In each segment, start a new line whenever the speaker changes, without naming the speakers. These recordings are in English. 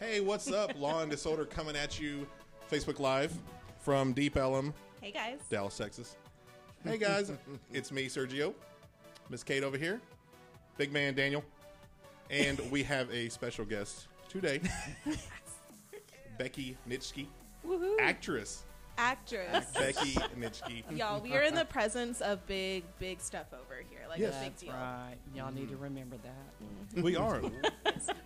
Hey, what's up? Law and Disorder coming at you, Facebook Live from Deep Ellum,
Hey guys.
Dallas, Texas. Hey guys, it's me, Sergio, Miss Kate over here, Big Man Daniel, and we have a special guest today, Becky Nitschke,
Woohoo.
actress
Actress.
Becky Nitschke.
Y'all, we are in the presence of big, big stuff over here. Like
Yes.
a big
That's
deal.
right. Y'all need
Mm-hmm.
to remember that.
We are.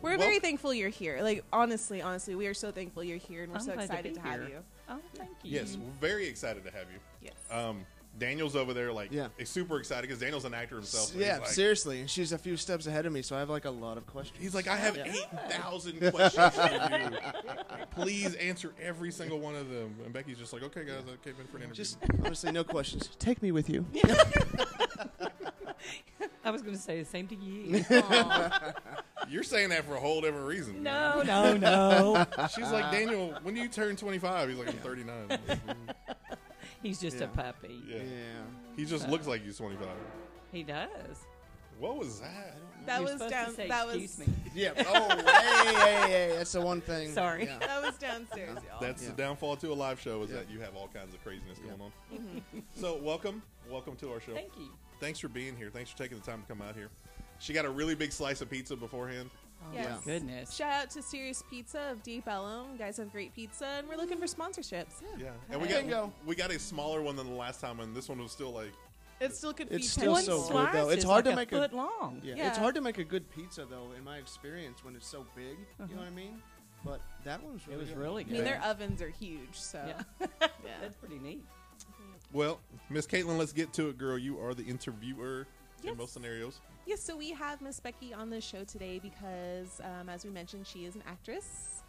We're very
Welcome.
thankful you're here. Like honestly, honestly, we are so thankful you're here, and we're
I'm
so
glad to
excited
be
to, have
here.
you.
Oh, thank you.
Yes,
Mm-hmm.
we're very excited to have you.
Yes.
Um, Daniel's over there, like,
Yeah.
is super excited because Daniel's an actor himself. and
yeah,
he's like,
seriously, and she's a few steps ahead of me, so I have like a lot of questions.
He's like, I have
Yeah.
8,000 questions for you. Please answer every single one of them. And Becky's just like, okay, guys, I came in for an interview.
Just honestly, no questions. Take me with you.
I was going to say the same to you.
You're saying that for a whole different reason.
no, no, no.
She's
Uh.
like, Daniel, when do you turn 25? He's like, I'm 39.
He's just a
Yeah.
puppy.
yeah.
Yeah.
He just looks like he's 25.
He does.
What was that?
that
You're
was
supposed to
down.
say,
that was
Excuse me.
Yeah. Oh, hey, hey, hey, that's the one thing.
Sorry.
Yeah.
that was downstairs, y'all.
That's
Yeah.
the downfall to a live show is
Yeah.
that you have all kinds of craziness
Yeah. Mm-hmm.
going on. so, welcome. Welcome to our show.
Thank you.
Thanks for being here. Thanks for taking the time to come out here. She got a really big slice of pizza beforehand.
Oh,
Yes.
my goodness.
Shout out to Serious Pizza of Deep Ellum. You guys have great pizza, and we're looking for sponsorships.
Yeah, and we got
Bingo.
we got a smaller one than the last time, and this one was still like
It still could
It's
feed
still
10
One
so
people.
good,
slice
though. It's
is
hard to
like a
make a-
foot long.
Yeah.
Yeah.
It's hard to make a good pizza though, in my experience, when it's so big. You know what I mean? But that one was
Uh-huh. It
really.
was
good.
really
I mean,
good.
their ovens are huge, so
Yeah.
yeah.
That's pretty neat.
Well, Miss Caitlin, let's get to it, girl. You are the interviewer in
Yes.
most scenarios.
Yes, so we have Miss Becky on the show today because, um, as we mentioned, she is an actress.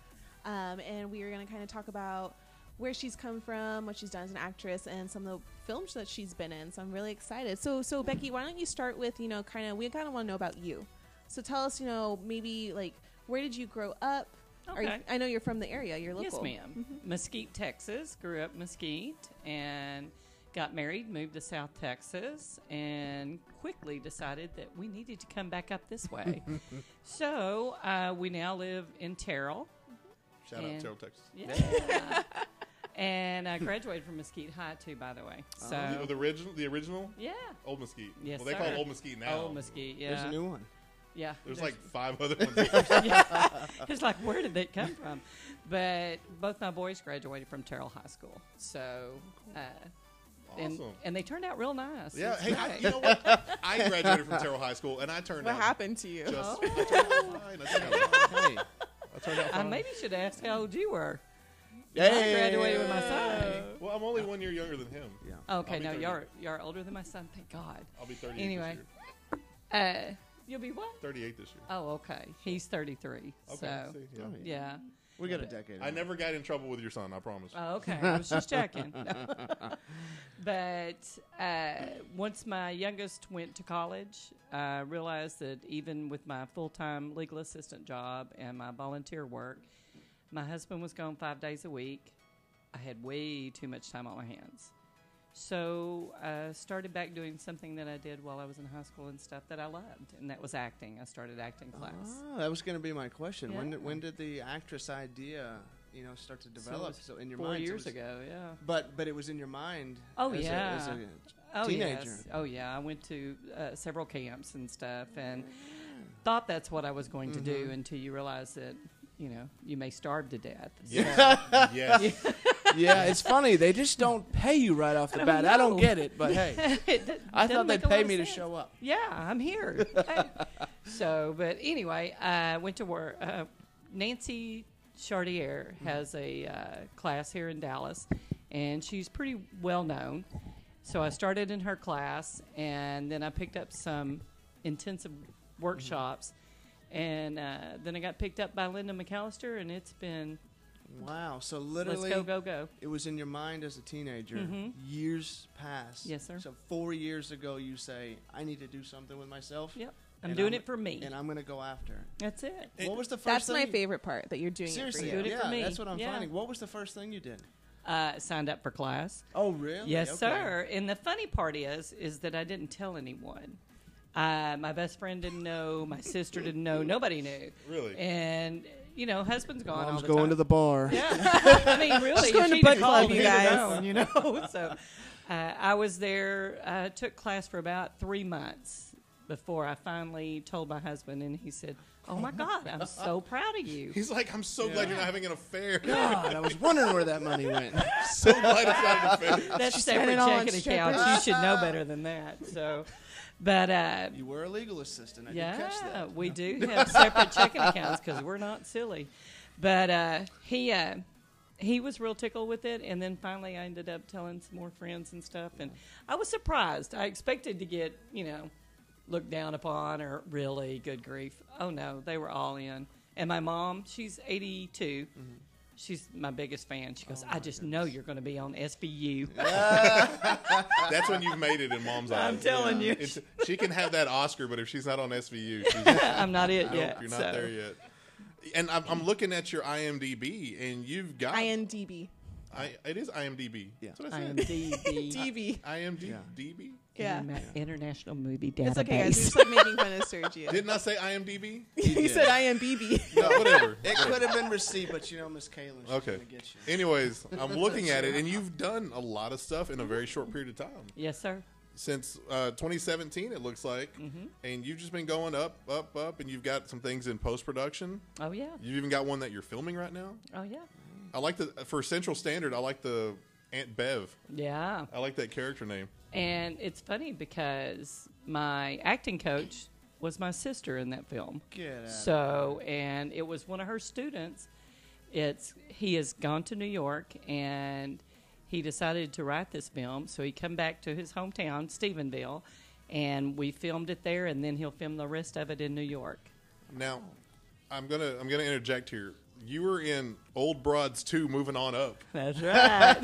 Um, and we are going to kind of talk about where she's come from, what she's done as an actress, and some of the films that she's been in. So I'm really excited. So, so Becky, why don't you start with, you know, kind of, we kind of want to know about you. So tell us, you know, maybe like, where did you grow up? Are you-
Okay.
I know you're from the area, you're local.
Yes, madam Mesquite, Texas. Grew up Mesquite and got married, moved to South Texas, and quickly decided that we needed to come back up this way. so uh, we now live in Terrell.
Shout
And-
out Terrell, Texas.
Yeah. and I graduated from Mesquite High too, by the way. So
The, the original, the original
yeah,
Old Mesquite.
Uh, Yes,
well, they call
sir.
it Old Mesquite now.
old Mesquite. Yeah,
There's a new one.
yeah.
There's, like five other ones.
yeah. It's like, where did that come from? But both my boys graduated from Terrell High School. So, uh, and,
Awesome.
and they turned out real nice.
yeah,
It's
hey, I,
nice.
you know what? I graduated from Terrell High School, and I turned
What
out
happened to you?
just
Oh.
I turned out fine. I turned out fine.
hey.
I turned out
I
fine.
maybe should ask how old you were.
Hey.
I graduated with my son.
Well, I'm only one year younger than him.
Yeah.
Okay,
I'll be
no,
30.
y'all are, y'all are older than my son. Thank God.
I'll be 38
Anyway.
this year.
Uh, you'll be what?
38 this year.
Oh, okay. He's 33.
Okay.
so,
see, yeah.
Oh, yeah.
yeah.
We got a decade.
I never got in trouble with your son. I promise.
Oh, okay. I was just checking. but uh, once my youngest went to college, I realized that even with my full time legal assistant job and my volunteer work, my husband was gone five days a week. I had way too much time on my hands. So I started back doing something that I did while I was in high school and stuff that I loved, and that was acting. I started acting class.
Ah, that was going to be my question. When
Yeah.
did, when did the actress idea, you know, start to
So it
develop?
was
So, in your
Four
mind, so it
years
was-
ago, yeah.
But but it was in your mind.
Oh,
as a-
yeah.
as a
oh,
teenager.
Yes. Oh yeah, I went to uh, several camps and stuff, and thought that's what I was going to do
Mm-hmm.
until you realize that you know you may starve to death.
Yes. yes.
yeah, it's funny. They just don't pay you right off the
I don't
bat. I don't
know.
get it, but hey,
It d-
I thought they'd
doesn't make a
pay
lot of
me to
sense.
show up.
Yeah, I'm here. Hey. so, but anyway, I went to work. Uh, Nancy Chartier
Mm-hmm.
has a uh, class here in Dallas, and she's pretty well known. So I started in her class, and then I picked up some intensive workshops,
Mm-hmm.
and uh, then I got picked up by Linda McAllister, and it's been
Wow. So literally,
let's go, go, go.
it was in your mind as a teenager.
Mhm.
Years pass.
Yes, sir.
So four years ago, you say, "I need to do something with myself."
Yep, I'm
And
doing
I'm-
it for me.
And I'm going to go after. it."
That's it.
what was the first?
That's
thing
my
you-
favorite part that you're doing
Seriously,
it for you.
Doing it
yeah,
for me.
that's what I'm
Yeah.
finding. What was the first thing you did?
Uh, signed up for class.
Oh, really?
Yes,
Okay.
sir. And the funny part is, is that I didn't tell anyone. Uh, my best friend didn't know. My sister didn't know. Nobody knew.
Really?
And you know, husband's gone. all
Mom's
the
going
time.
to the bar.
Yeah, I mean, really,
Just going
if
to
she'd
butt
have called
club, you
me
guys.
down, you know. so uh, I was there. Uh, took class for about three months before I finally told my husband, and he said, "Oh my God, I'm so proud of you."
He's like, I'm so glad you're not having an affair.
God, I was wondering where that money went.
so glad it's not an affair.
That's
spent
separate
it all on
checking accounts. You should know better than that. So, but uh,
You were a legal assistant. I
yeah,
did catch that.
we do have separate checking accounts because we're not silly. But uh, he uh, he was real tickled with it, and then finally I ended up telling some more friends and stuff, and I was surprised. I expected to get you know looked down upon or really good grief. Oh no, they were all in. And my mom, she's eighty She's my biggest fan. She goes, I just know you're going to be on SBU.
That's when you've made it in mom's eyes.
I'm telling you.
It's, she can have that Oscar, but if she's not on SVU, she's,
I'm not it
nope,
yet.
you're not
so.
there yet. And I'm, I'm looking at your IMDb, and you've got
IMDb.
Uh,
I- it is IMDb.
Yeah.
That's what I
I am
said.
DB.
DB.
IMDb.
Yeah.
Yeah.
Interna- International Movie Database.
It's okay, guys. We're just like making fun of Sergio.
Didn't I say IMDb?
he said IMDb.
No, whatever.
It could have been received, but you know, Miss Kayla, she's
Okay.
gonna get you.
Anyways, I'm looking at it, and you've done a lot of stuff in a very short period of time.
Yes, sir.
Since uh, 2017, it looks like,
Mm-hmm.
and you've just been going up, up, up, and you've got some things in post production.
Oh yeah.
You've even got one that you're filming right now.
Oh yeah.
I like the uh, for Central Standard. I like the Aunt Bev.
Yeah.
I like that character name.
And it's funny because my acting coach was my sister in that film.
Get out.
So, and it was one of her students. It's he has gone to New York and he decided to write this film. So he come back to his hometown, Stephenville, and we filmed it there. And then he'll film the rest of it in New York.
Now, I'm gonna I'm gonna interject here. You were in Old Broads 2, moving on up.
That's right.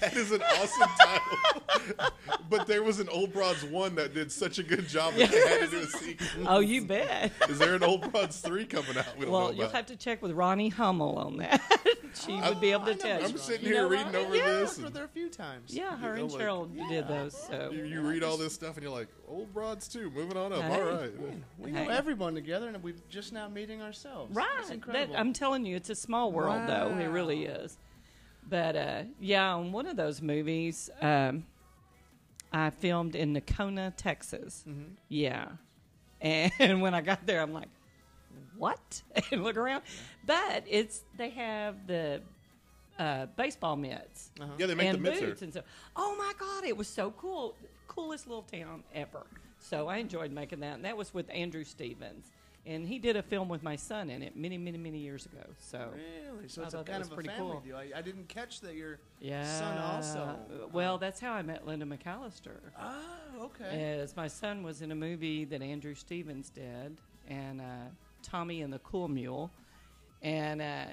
That is an awesome title. but there was an Old Broads 1 that did such a good job that they had to do a sequel.
oh, you bet.
Is there an Old Broads 3 coming out? We don't know
Well,
about.
you'll have to check with Ronnie Hummel on that. she would be able to tell you.
I'm sitting
You
here
know
reading
Ronnie?
over
Yeah.
I
this.
was
and
there a few times.
Yeah, her
You
and
know, like-
Cheryl did those. So
you, you read all this stuff and you're like, Old Broads 2, moving on up.
Hey.
All right.
We know
Hey.
everyone together, and we're just now meeting ourselves.
right,
That's
That-
incredible.
I'm telling you, it's a small world, though. It really is. But uh, yeah, on one of those movies, um, I filmed in Nakona, Texas.
Mm-hmm.
Yeah, and when I got there, I'm like, what? and look around, but it's they have the uh, baseball mitts.
Yeah, they make the
and
mitts there.
boots and stuff. Oh my god, it was so cool! Coolest little town ever. So I enjoyed making that, and that was with Andrew Stevens, and he did a film with my son in it many, many, many years ago. So
Really? So
I
it's a
thought that
kind
was
of a
pretty
family
cool.
deal. I, I didn't catch that your
yeah,
son also.
Well, that's how I met Linda McAllister.
Oh, okay.
As my son was in a movie that Andrew Stevens did, and uh, Tommy and the Cool Mule, and uh,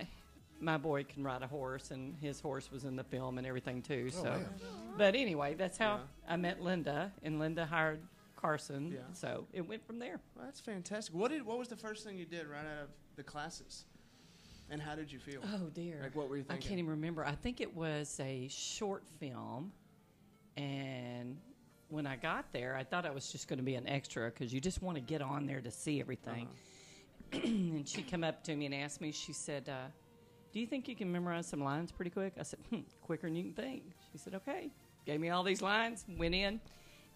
my boy can ride a horse, and his horse was in the film and everything too. so,
man.
but anyway, that's how
Oh, Yeah.
I met Linda, and Linda hired Carson.
Yeah.
So it went from there.
Well, that's fantastic. What did? What was the first thing you did right out of the classes? And how did you feel?
Oh dear.
Like, what were you
I
thinking?
can't even remember. I think it was a short film, and when I got there, I thought I was just going to be an extra because you just want to get on there to see everything.
Uh-huh.
and she come up to me and asked me. She said, uh, "Do you think you can memorize some lines pretty quick?" I said, hmm, "Quicker than you can think." She said, "Okay." Gave me all these lines. Went in,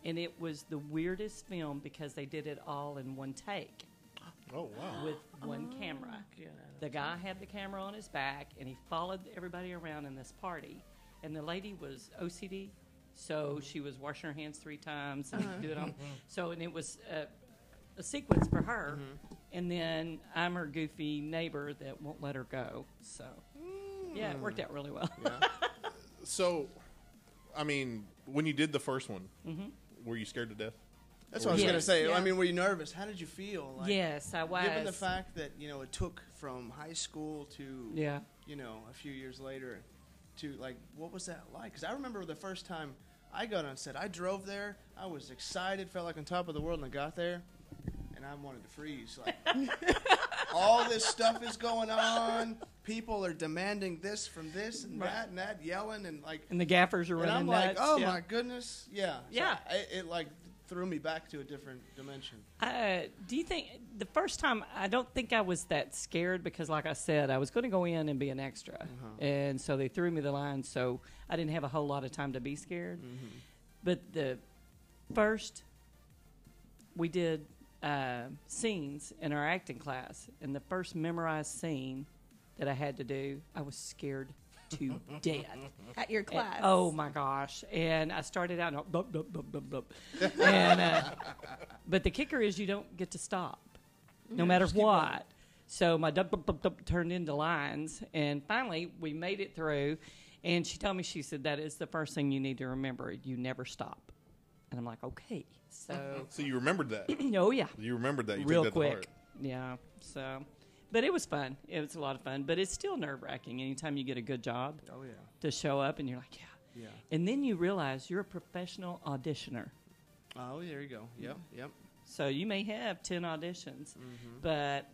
and it was the weirdest film because they did it all in one take
Oh, wow.
with one
Oh,
camera. The guy had the camera on his back and he followed everybody around in this party. And the lady was
Mm-hmm.
OCD, so she was washing her hands three times and
Uh-huh.
doing all. So and it was a, a sequence for her.
Mm-hmm.
And then I'm her goofy neighbor that won't let her go. So yeah, it
Mm.
worked out really well.
So, I mean, when you did the first one,
Mm-hmm.
were you scared to death?
That's what I was
Yes.
gonna say.
Yeah.
I mean, were you nervous? How did you feel? Like,
yes, I was.
Given the fact that you know it took from high school to
yeah.
you know a few years later to like what was that like? Because I remember the first time I got on set, I drove there. I was excited, felt like on top of the world, and I got there, and I wanted to freeze. Like all this stuff is going on. People are demanding this from this and
Right.
that and that, yelling and like
And the gaffers are
and
running
I'm like,
nuts.
oh
yeah.
my goodness, yeah, So
Yeah.
I- it, like threw me back to a different dimension.
Uh, do you think the first time I don't think I was that scared because, like I said, I was going to go in and be an extra, and so they threw me the line, so I didn't have a whole lot of time to be scared. But the first we did uh, scenes in our acting class, and the first memorized scene that I had to do, I was scared to death.
at your
And-
class.
oh my gosh! And I started out, and, I- blup, blup, blup, blup, blup. and uh, but the kicker is you don't get to stop, no matter what. So my dub, dub, dub, dub turned into lines, and finally we made it through. And she told me, she said, "That is the first thing you need to remember. You never stop." And I'm like, "Okay." So,
So you remembered that.
oh yeah,
You remembered that. You
real
took that to heart.
quick. Yeah. So, but it was fun. It was a lot of fun. But it's still nerve wracking. Anytime you get a good job
Oh yeah,
to show up, and you're like, "Yeah."
yeah.
And then you realize you're a professional auditioner.
Oh, there you go.
Mm.
Yep, yep.
So you may have 10 auditions,
Mm-hmm.
but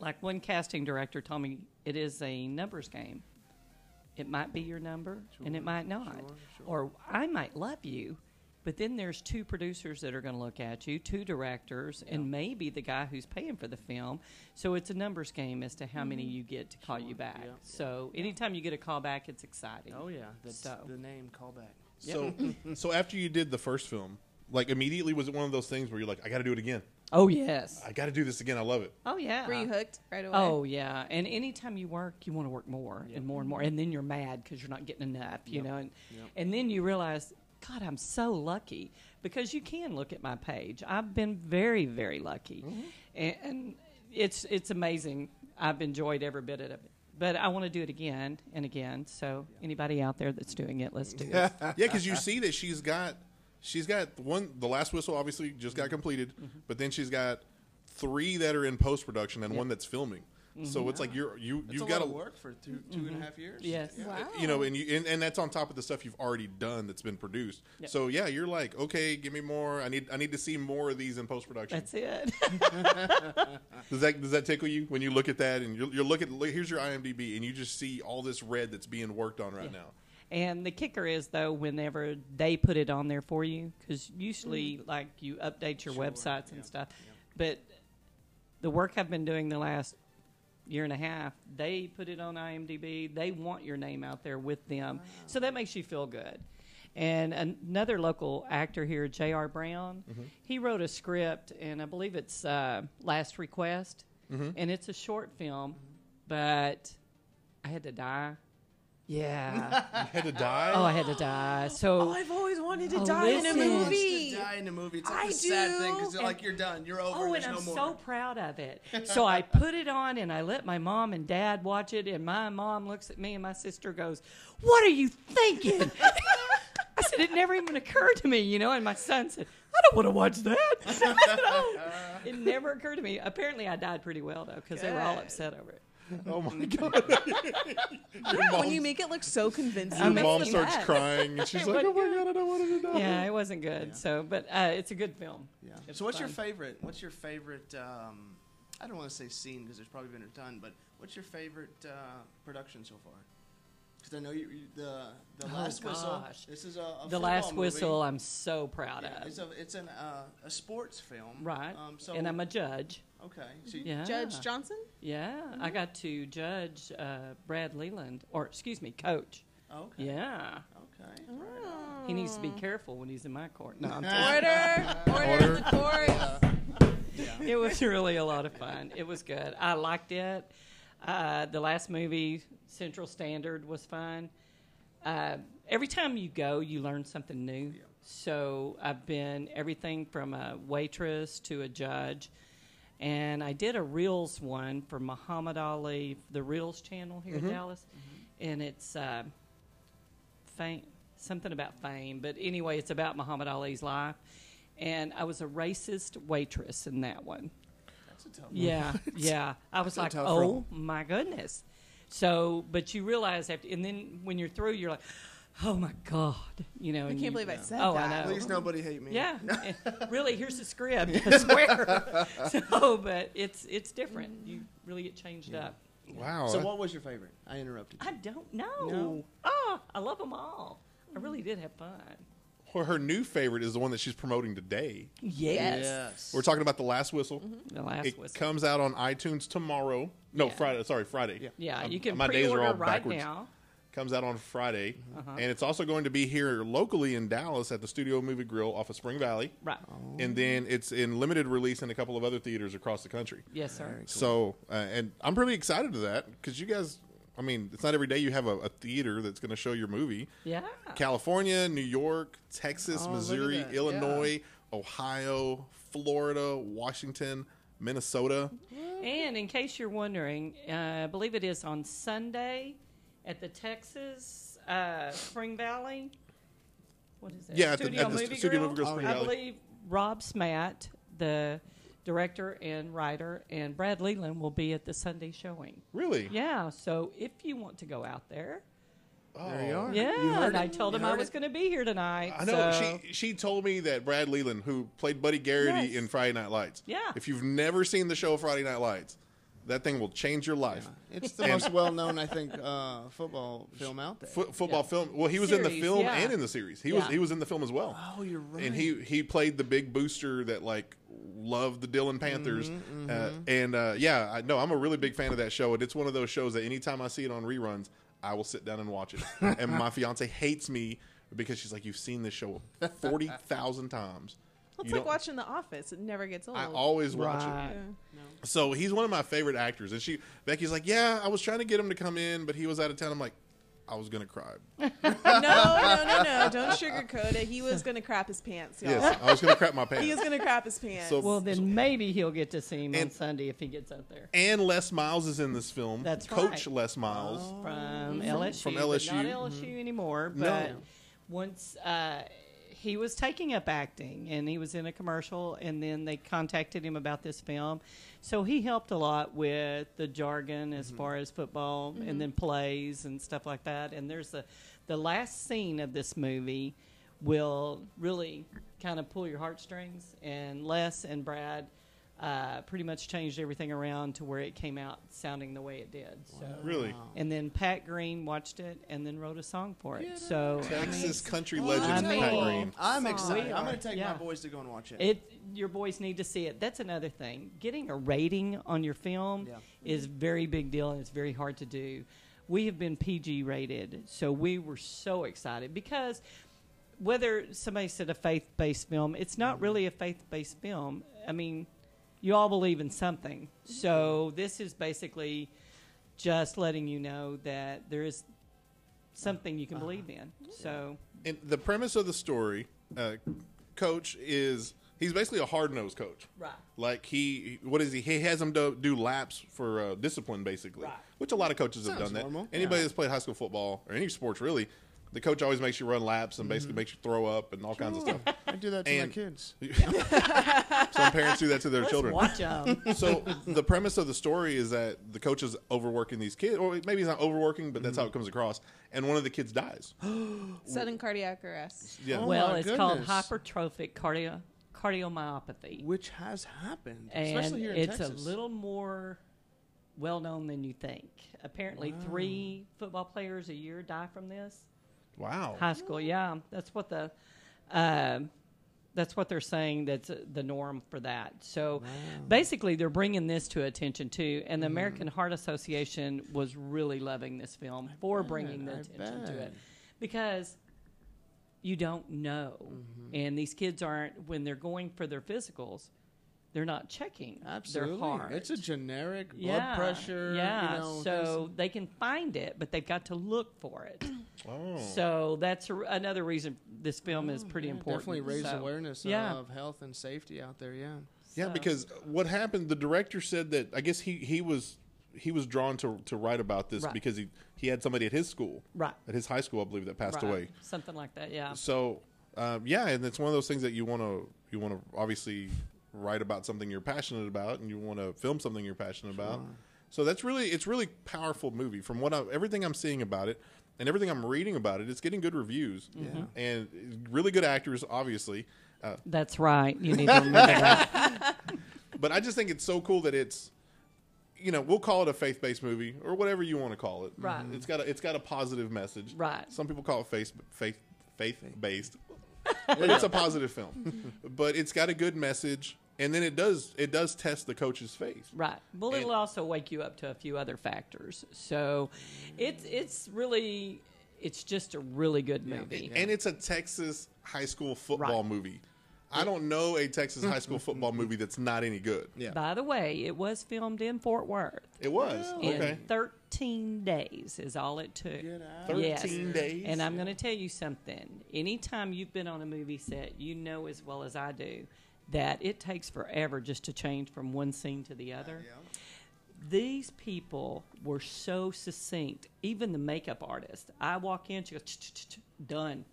like one casting director told me, it is a numbers game. It might be your number and it
Sure,
might not.
sure, sure.
Or I might love you, but then there's two producers that are going to look at you, two directors, and maybe the guy who's paying for the film. So it's a numbers game as to how many you get to call you
Mm-hmm. Sure,
back.
yeah.
So anytime you get a call back, it's exciting.
Oh yeah, the
So-
the name callback.
So so after you did the first film, like immediately was it one of those things where you're like, I got to do it again.
Oh, yes.
I got to do this again. I love it.
Oh, yeah.
Were you hooked right away?
Oh yeah, and anytime you work, you want to work more and more and more, and then you're mad because you're not getting enough, you
Yep.
know, and
Yep.
and then you realize, God, I'm so lucky because you can look at my page. I've been very very lucky,
Mm-hmm.
and, and it's it's amazing. I've enjoyed every bit of it, but I want to do it again and again. So anybody out there that's doing it, let's do it.
yeah, because you see that she's got she's got one the last whistle obviously just got completed,
Mm-hmm.
but then she's got three that are in post production and one that's filming. So it's like you're you
Mm-hmm. That's
you've
a
got
lot of
to
work Oh. for two two and a half years.
Mm-hmm. Yes.
Yeah.
Wow.
you know, and you and, and that's on top of the stuff you've already done that's been produced.
Yep.
So yeah, you're like, okay, give me more. I need I need to see more of these in post production.
That's it.
Does that does that tickle you when you look at that and you're, you're looking? Look, here's your IMDb, and you just see all this red that's being worked on right
Yeah.
now.
And the kicker is though, whenever they put it on there for you, because usually like you update your
Mm-hmm. Sure,
websites and
yeah,
stuff.
yeah.
But the work I've been doing the last year and a half, they put it on IMDb. They want your name out there with them, so that makes you feel good. And an- another local actor here, J.R. Brown,
Mm-hmm.
he wrote a script, and I believe it's uh, Last Request,
Mm-hmm.
and it's a short film, but I had to die. Yeah.
You had to die.
Oh, I had to die. So
I've always wanted to
Oh,
die in a
listen.
Wants
movie.
To die in a movie. It's like
I
a sad thing
do.
because you're like you're done. You're over.
oh,
there's
and I'm
no more.
so proud of it. So I put it on and I let my mom and dad watch it, and my mom looks at me and my sister goes, "What are you thinking?" I said it never even occurred to me, you know. And my son said, "I don't want to watch that." I said, "Oh." It never occurred to me. Apparently, I died pretty well though because they were all
Good.
upset over it.
Oh my god!
Yeah, when you make it look so convincing.
I
Your
made
mom
them
starts
mad.
crying, and she's
It
like, "Oh
wasn't
my god, I don't want to die."
Yeah, it wasn't good.
Yeah.
So, but uh, it's a good film.
Yeah.
It's
So what's your
fun.
favorite? What's your favorite? Um, I don't want to say scene because there's probably been a ton, but what's your favorite uh, production so far? Because I know you, you the the
Oh,
last whistle.
gosh.
This is a, a
The
football
Last
movie.
Whistle, I'm so proud
Yeah,
of.
it's a it's an uh, a sports film.
Right.
Um, so
and I'm a judge.
okay. So you,
Yeah.
Judge Johnson?
Yeah. I got to judge uh, Brad Leland, or excuse me, coach.
oh, okay.
Yeah.
Okay. Right.
He needs to be careful when he's in my court. No, I'm just-
Order. Order
Order.
in the court.
it was really a lot of fun. It was good. I liked it. Uh, the last movie, Central Standard, was fun. Uh, every time you go, you learn something new.
Yeah.
So I've been everything from a waitress to a judge. And I did a Reels one for Muhammad Ali, the Reels channel here in Dallas. And it's uh, fame, something about fame. But anyway, it's about Muhammad Ali's life. And I was a racist waitress in that one.
That's a tough one.
Yeah, yeah. I was
a
like,
tough
oh
role.
my goodness. So, but you realize after, and then when you're through, you're like, oh my god, you know.
I
and
can't
you-
believe I said
Oh, I
that.
know.
Please nobody hate me.
Yeah, And really. Here's the script. I swear. so, but it's it's different. You really get changed
Yeah.
up.
Wow.
So
that-
what was your favorite? I interrupted. you.
I don't know.
No.
Oh, I love them all. I really did have fun.
Her, her new favorite is the one that she's promoting today.
Yes.
We're talking about The Last Whistle.
The Mm-hmm. last
it
whistle.
comes out on iTunes tomorrow. No,
Yeah.
Friday. Sorry, Friday.
Yeah.
yeah,
Um,
you can
my days are
pre-order
all
right
backwards.
now.
Comes out on Friday,
Uh-huh.
and it's also going to be here locally in Dallas at the Studio Movie Grill off of Spring Valley,
Right.
and
Oh.
then it's in limited release in a couple of other theaters across the country.
Yes, sir.
So, uh, and I'm pretty excited to that because you guys. I mean, it's not every day you have a, a theater that's going to show your movie.
Yeah.
California, New York, Texas,
Oh, look at
Missouri,
that.
Illinois, Ohio, Florida, Washington, Minnesota.
And in case you're wondering, uh, I believe it is on Sunday at the Texas uh, Spring Valley. What is that?
Yeah, at the-
Studio
at the
Movie
Studio
Grill?
Movie Grill Spring
I
Valley.
believe Rob Smat, the director and writer, and Brad Leland will be at the Sunday showing.
Really?
Yeah, so if you want to go out there,
Oh.
There you are.
yeah,
heard
and
it?
I told
You
him I
heard
was
it?
going to be here tonight.
I know.
so-
She she told me that Brad Leland, who played Buddy Garrity
Yes.
in Friday Night Lights.
Yeah.
If you've never seen the show Friday Night Lights, that thing will change your life.
It's the most well known, I think, uh, football film out there.
Fo- football
Yeah.
film. Well, he was in the
Series,
film
yeah.
and in the series. He was
Yeah.
he was in the film as well.
oh, you're right.
and he he played the big booster that like loved the Dillon Panthers. Uh, and uh, yeah, I know I'm a really big fan of that show, and it's one of those shows that anytime I see it on reruns, I will sit down and watch it. and my fiance hates me because she's like, "You've seen this show forty thousand times."
It's
You
like
don't-
watching The Office. It never gets old.
I always watch
Right.
it. So he's one of my favorite actors, and she Becky's like, "Yeah, I was trying to get him to come in, but he was out of town." I'm like, "I was gonna cry."
no, no, no, no. Don't sugarcoat it. He was going to crap his pants, y'all.
Yes, I was gonna crap my pants.
He is going to crap his pants.
So-
Well, then maybe he'll get to see him on
And-
Sunday if he gets out there.
and Les Miles is in this film.
That's
Coach
right. Oh.
Les Miles.
from LSU,
From
but
LSU.
not LSU anymore.
Mm-hmm. No.
But once uh, he was taking up acting, and he was in a commercial, and then they contacted him about this film, so he helped a lot with the jargon
Mm-hmm.
as far as football, and then plays and stuff like that. And there's the the last scene of this movie will really kind of pull your heartstrings, and Les and Brad. Uh, pretty much changed everything around to where it came out sounding the way it did. So
Really?
and then Pat Green watched it and then wrote a song for it. so I mean,
Texas country
Well,
legend
I
Pat
mean-
Green.
I'm
Sorry.
excited.
We
I'm going
are.
to take
Yeah.
my boys to go and watch it.
it your boys need to see it. That's another thing. Getting a rating on your film
Yeah.
is very big deal and it's very hard to do. We have been PG rated, so we were so excited because whether somebody said a faith based film, it's not really a faith based film. I mean, you all believe in something. So this is basically just letting you know that there is something you can believe in. So
And the premise of the story, uh, Coach is he's basically a hard nosed coach.
Right.
Like he, what is he? He has them do, do laps for uh, discipline, basically,
Right.
which a lot of coaches have
Sounds
done that.
normal.
Anybody that's played high school football or any sports really, the coach always makes you run laps and
Mm-hmm.
basically makes you throw up and all kinds of stuff.
I do that to
And-
my kids.
Some parents do that to their
let's
children.
watch 'em.
so the premise of the story is that the coach is overworking these kids, or maybe he's not overworking, but that's how it comes across. And one of the kids dies.
Sudden cardiac arrest.
Yeah.
Oh
well,
my
it's called
goodness.
hypertrophic cardio cardiomyopathy,
Which has happened,
and
especially here in
it's
Texas.
a little more well known than you think. Apparently, three football players a year die from this.
Wow.
High school, yeah, that's what the. um that's what they're saying. That's uh, the norm for that. So basically, they're bringing this to attention too. And the
Mm-hmm.
American Heart Association was really loving this film for bringing the
I
attention to
bet.
it because you don't know.
Mm-hmm.
And these kids aren't, when they're going for their physicals, they're not checking
Absolutely.
their heart.
It's a generic blood
Yeah,
pressure.
Yeah.
You know,
so they can find it, but they've got to look for it.
Hmm.
Oh.
So that's a, another reason this film is pretty
things-
important.
Hmm. definitely raise
So,
awareness
yeah.
of health and safety out there. Yeah.
yeah,
so-
because what happened? The director said that I guess he he was he was drawn to to write about this
Right.
because he he had somebody at his school,
Right.
at his high school, I believe, that passed
Right.
away.
Something like that, yeah.
So um, yeah, and it's one of those things that you want to you want to obviously write about something you're passionate about, and you want to film something you're passionate about. So that's really it's really powerful movie from what I, everything I'm seeing about it and everything I'm reading about it. It's getting good reviews
Mm-hmm.
Mhm.
and really good actors, obviously. Uh,
That's right. You need to remember that.
but I just think it's so cool that it's you know we'll call it a faith based movie or whatever you want to call it. Mm-hmm.
Right.
It's got a, it's got a positive message.
Right.
Some people call it faith Mm-hmm. faith faith based. but it's a positive film. But it's got a good message, and then it does it does test the coach's faith.
Right. Well,
And-
it'll also wake you up to a few other factors. So, it's it's really it's just a really good movie.
And it's a Texas high school football
Right.
movie. I don't know a Texas high school football movie that's not any good.
Yeah.
By the way, it was filmed in Fort Worth.
It was okay.
In 13 days is all it took.
Get out.
Yes.
13 days?
And I'm going to tell you something. Anytime you've been on a movie set, you know as well as I do that it takes forever just to change from one scene to the other.
Yeah.
These people were so succinct. Even the makeup artist. I walk in, she goes, "Ch-ch-ch-ch, done.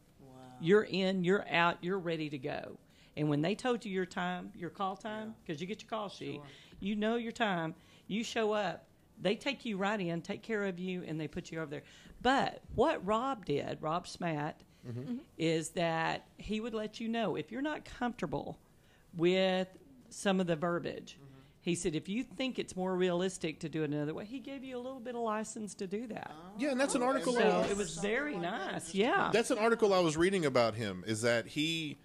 You're in, you're out, you're ready to go. And when they told you your time, your call time, because you get your call sheet, you know your time, you show up, they take you right in, take care of you, and they put you over there. But what Rob did, Rob Smat, is that he would let you know if you're not comfortable with some of the verbiage. He said, if you think it's more realistic to do it another way, he gave you a little bit of license to do that.
Yeah, and that's an article.
So
I-
it was very nice. Yeah.
That's an article I was reading about him. Is that he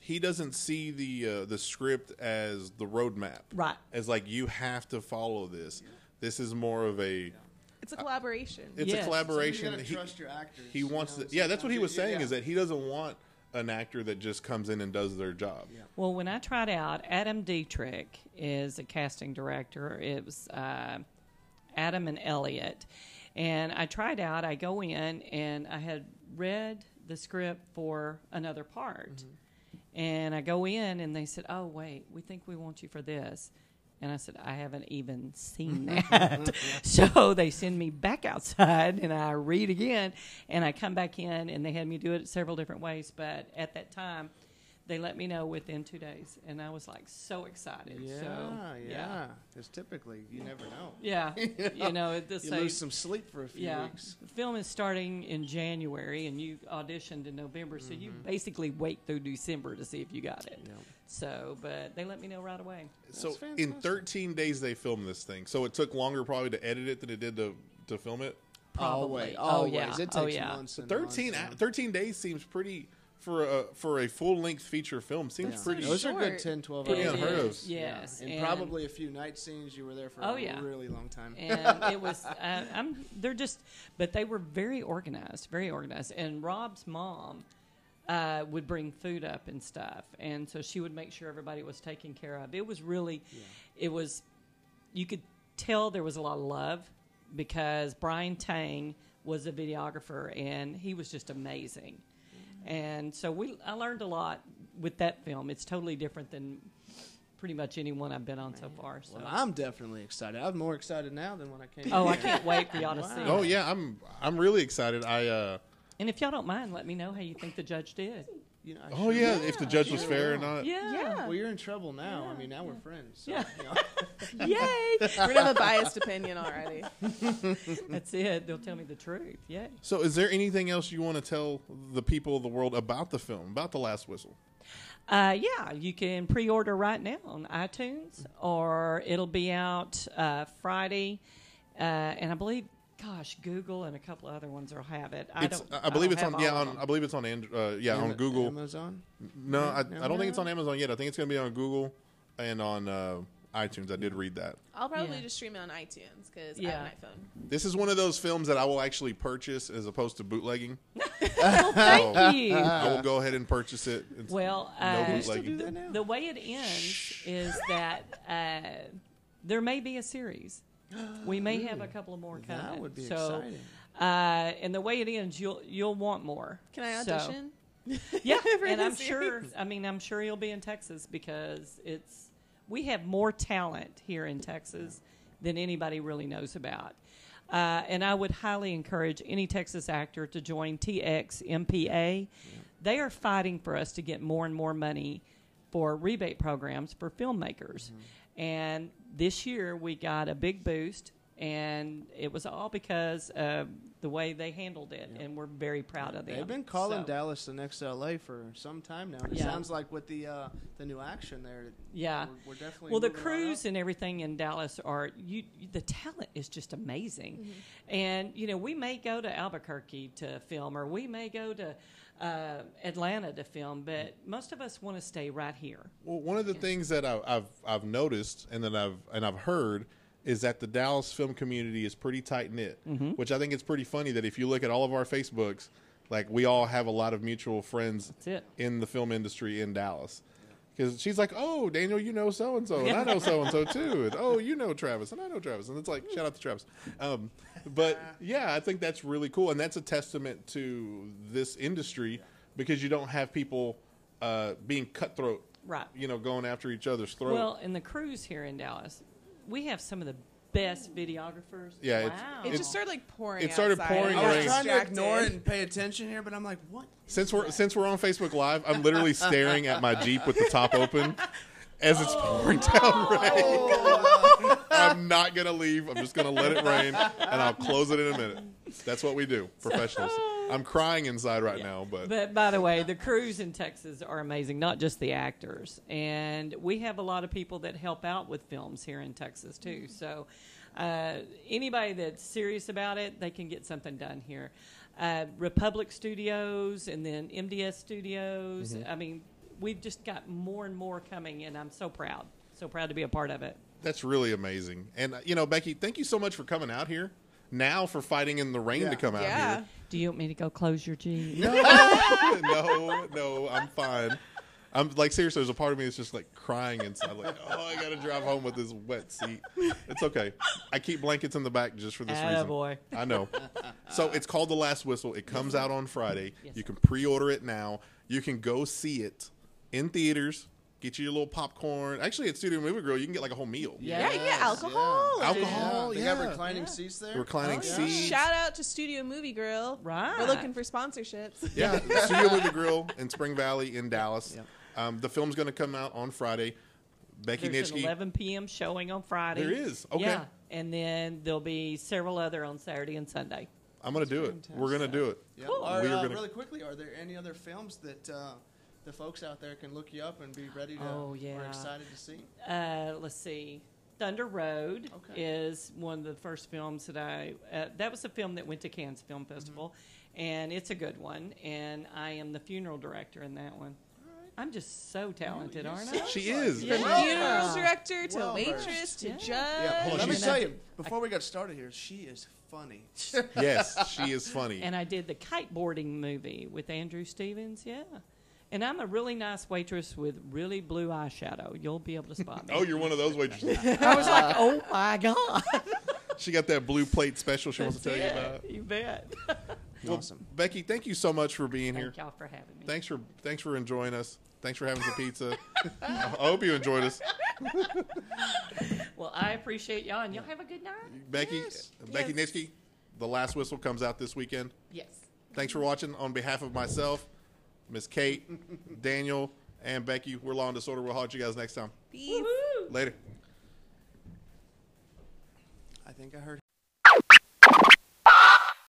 he doesn't see the uh, the script as the roadmap,
Right.
As like you have to follow this. This is more of a
It's a collaboration.
it's a
Yes. So you gotta
collaboration.
gotta
He-
trust your actors,
He
you
wants.
know,
to, yeah, that's what he
sometimes
was
you-
saying.
yeah.
Is that he doesn't want an actor that just comes in and does their job.
Well, when I tried out, Adam Dietrich is a casting director. It was uh, Adam and Elliot. And I tried out, I go in, and I had read the script for another part.
Mm-hmm.
And I go in, and they said, Oh, wait, we think we want you for this. And I said, I haven't even seen that. so they send me back outside and I read again. And I come back in, and they had me do it several different ways. But at that time, they let me know within two days. And I was like so excited.
Yeah,
so,
yeah. Because typically, you never know.
yeah, you know, at this
You
age,
lose some sleep for a few
yeah.
weeks.
The film is starting in January, and you auditioned in November, so
Mm-hmm.
you basically wait through December to see if you got it. So, but they let me know right away.
So in
fantastic.
13 days they filmed this thing. So it took longer probably to edit it than it did to to film it.
Probably.
Always,
Oh,
always.
yeah.
It takes
Oh, yeah.
months. and
13
months
a-
and-
13 days seems pretty for a for a full length feature film. Seems
Yeah.
pretty.
Those are
short.
good 10, 12
Pretty
hours.
unheard of.
Yeah.
Yes,
And,
and-
probably a few night scenes. You were there for
Oh,
a
yeah.
really long time.
and it was uh, I'm they're just but they were very organized, very organized. And Rob's mom uh, would bring food up and stuff, and so she would make sure everybody was taken care of. It was really, it was you could tell there was a lot of love because Brian Tang was a videographer and he was just amazing. And so we I learned a lot with that film. It's totally different than pretty much anyone I've been on so far. So
Well, I'm definitely excited. I'm more excited now than when I came.
Oh, I
here.
can't wait for y'all to see.
Oh
it.
yeah, I'm I'm really excited. I uh
And if y'all don't mind, let me know how you think the judge did.
You know, I
oh
sure-
yeah, if the judge was fair or not.
Uh, Yeah.
Well, you're in trouble now. I mean, now we're friends. So,
Yeah.
you know.
Yay.
We're gonna have a biased opinion already.
That's it. They'll tell me the truth. Yay.
So is there anything else you want to tell the people of the world about the film, about the last whistle?
Uh, yeah, you can pre order right now on iTunes, or it'll be out uh, Friday. Uh, and I believe, gosh, Google and a couple of other ones will have it. I,
it's
don't,
I believe
don't
it's
have
on yeah,
all of
on,
them.
I believe it's on Andro- uh, yeah, on
Am-
Google.
Amazon.
No, I, I don't
no.
think it's on Amazon yet. I think it's going to be on Google and on uh, iTunes. I did read that.
I'll probably
Yeah.
just stream it on iTunes because I
Yeah.
have an iPhone.
This is one of those films that I will actually purchase as opposed to bootlegging.
Well, thank you.
I will go ahead and purchase it. It's-
Well,
No
uh,
Can we still bootlegging.
do that
the-
now?
the way it ends is that uh, there may be a series. We may have a couple of more coming.
That would be
so,
exciting.
Uh, and the way it ends, you'll you'll want more.
Can I
So-
audition?
yeah,
for
and
the
I'm sure.
series?
I mean, I'm sure you'll be in Texas because it's we have more talent here in Texas than anybody really knows about. Uh, and I would highly encourage any Texas actor to join TXMPA. They are fighting for us to get more and more money for rebate programs for filmmakers. And this year we got a big boost and it was all because of the way they handled it, and we're very proud of them.
They've been calling
So,
Dallas the next LA for some time now. and It
Yeah.
sounds like with the uh, the new action there.
Yeah.
we're, we're definitely
Well, the
moving right
crews
up.
and everything in Dallas are you, you- The talent is just amazing, and you know we may go to Albuquerque to film, or we may go to uh, Atlanta to film, but most of us want to stay right here.
Well, one of the things that I, I've I've noticed and that I've and I've heard is that the Dallas film community is pretty tight knit, which I think it's pretty funny that if you look at all of our Facebooks, like we all have a lot of mutual friends
it.
in the film industry in Dallas. Because she's like, oh, Daniel, you know so and so, and I know so and so too, and oh, you know Travis, and I know Travis, and it's like, shout out to Travis. Um, but yeah, I think that's really cool, and that's a testament to this industry because you don't have people uh, being cutthroat,
Right.
You know, going after each other's throat.
Well, and the crews here in Dallas, we have some of the best videographers.
Yeah, it's-
wow.
It just started like pouring.
It started
outside.
pouring
I
I
got
was trying to
distracted.
ignore it and pay attention here, but I'm like, what?
since we're since we're on Facebook Live, I'm literally staring at my Jeep with the top open as it's pouring down rain. I'm not gonna leave. I'm just gonna let it rain, and I'll close it in a minute. That's what we do, professionals. I'm crying inside right now, but,
But by the way, the crews in Texas are amazing, not just the actors. And we have a lot of people that help out with films here in Texas, too. So uh, anybody that's serious about it, they can get something done here. Uh, Republic Studios and then MDS Studios. I mean, we've just got more and more coming, and I'm so proud. So proud to be a part of it.
that's really amazing. And uh, you know, Becky, thank you so much for coming out here. Now for fighting in the rain
Yeah.
to come out
Yeah.
here.
Do you want me to go close your Jeep?
No, no, no, I'm fine. I'm like seriously. There's a part of me that's just like crying inside, like, oh, I gotta drive home with this wet seat. It's okay. I keep blankets in the back just for this reason.
Attaboy.
I know. So it's called The Last Whistle. It comes out on Friday.
Yes.
You can pre-order it now. You can go see it in theaters. Get you your little popcorn. Actually, at Studio Movie Grill, you can get like a whole meal.
Yeah, you get alcohol.
yeah. Alcohol,
They
yeah.
got reclining seats there. Oh,
Reclining
Oh, Yeah.
seats.
Shout out to Studio Movie Grill.
Right.
We're looking for sponsorships.
Yeah, Studio Movie Grill in Spring Valley in Dallas. Um, the film's going to come out on Friday. Becky
There's an
Nitschke.
11 p.m. showing on Friday.
There is? Okay.
Yeah, and then there'll be several other on Saturday and Sunday.
I'm going to do it. We're going to do it.
Yeah.
Cool.
Are,
We are
uh,
gonna-
Really quickly, are there any other films that uh, the folks out there can look you up and be ready to
Oh,
or
yeah.
excited to see?
Uh, let's see. Thunder Road
Okay.
is one of the first films that I. Uh, that was a film that went to Cannes Film
Mm-hmm.
Festival, and it's a good one. And I am the funeral director in that one. I'm just so talented,
you
aren't I?
She
Sounds
is.
like-
From
Yeah.
funeral director to
Well versed.
waitress to
Yeah.
judge.
Yeah,
hold on,
let me
she's-
tell you, before we got started here, she is funny.
Yes, she is funny.
And I did the kiteboarding movie with Andrew Stevens. Yeah, and I'm a really nice waitress with really blue eyeshadow. You'll be able to spot me.
oh, you're one of those waitresses.
I was like, oh my god.
she got that blue plate special she wants to tell
That's
you
it.
about.
You bet.
Well,
Awesome.
Becky, thank you so much for being here.
Thank y'all for having me.
Thanks for thanks for enjoying us. Thanks for having some pizza. I hope you enjoyed us.
Well, I appreciate y'all, and y'all have a good night.
Becky
Yes.
Becky
Yes.
Nitschke, The Last Whistle comes out this weekend.
Yes.
Thanks for watching. On behalf of myself, Miss Kate, Daniel, and Becky, we're Law and Disorder. We'll holler at you guys next time.
Peace.
Later.
I think I heard.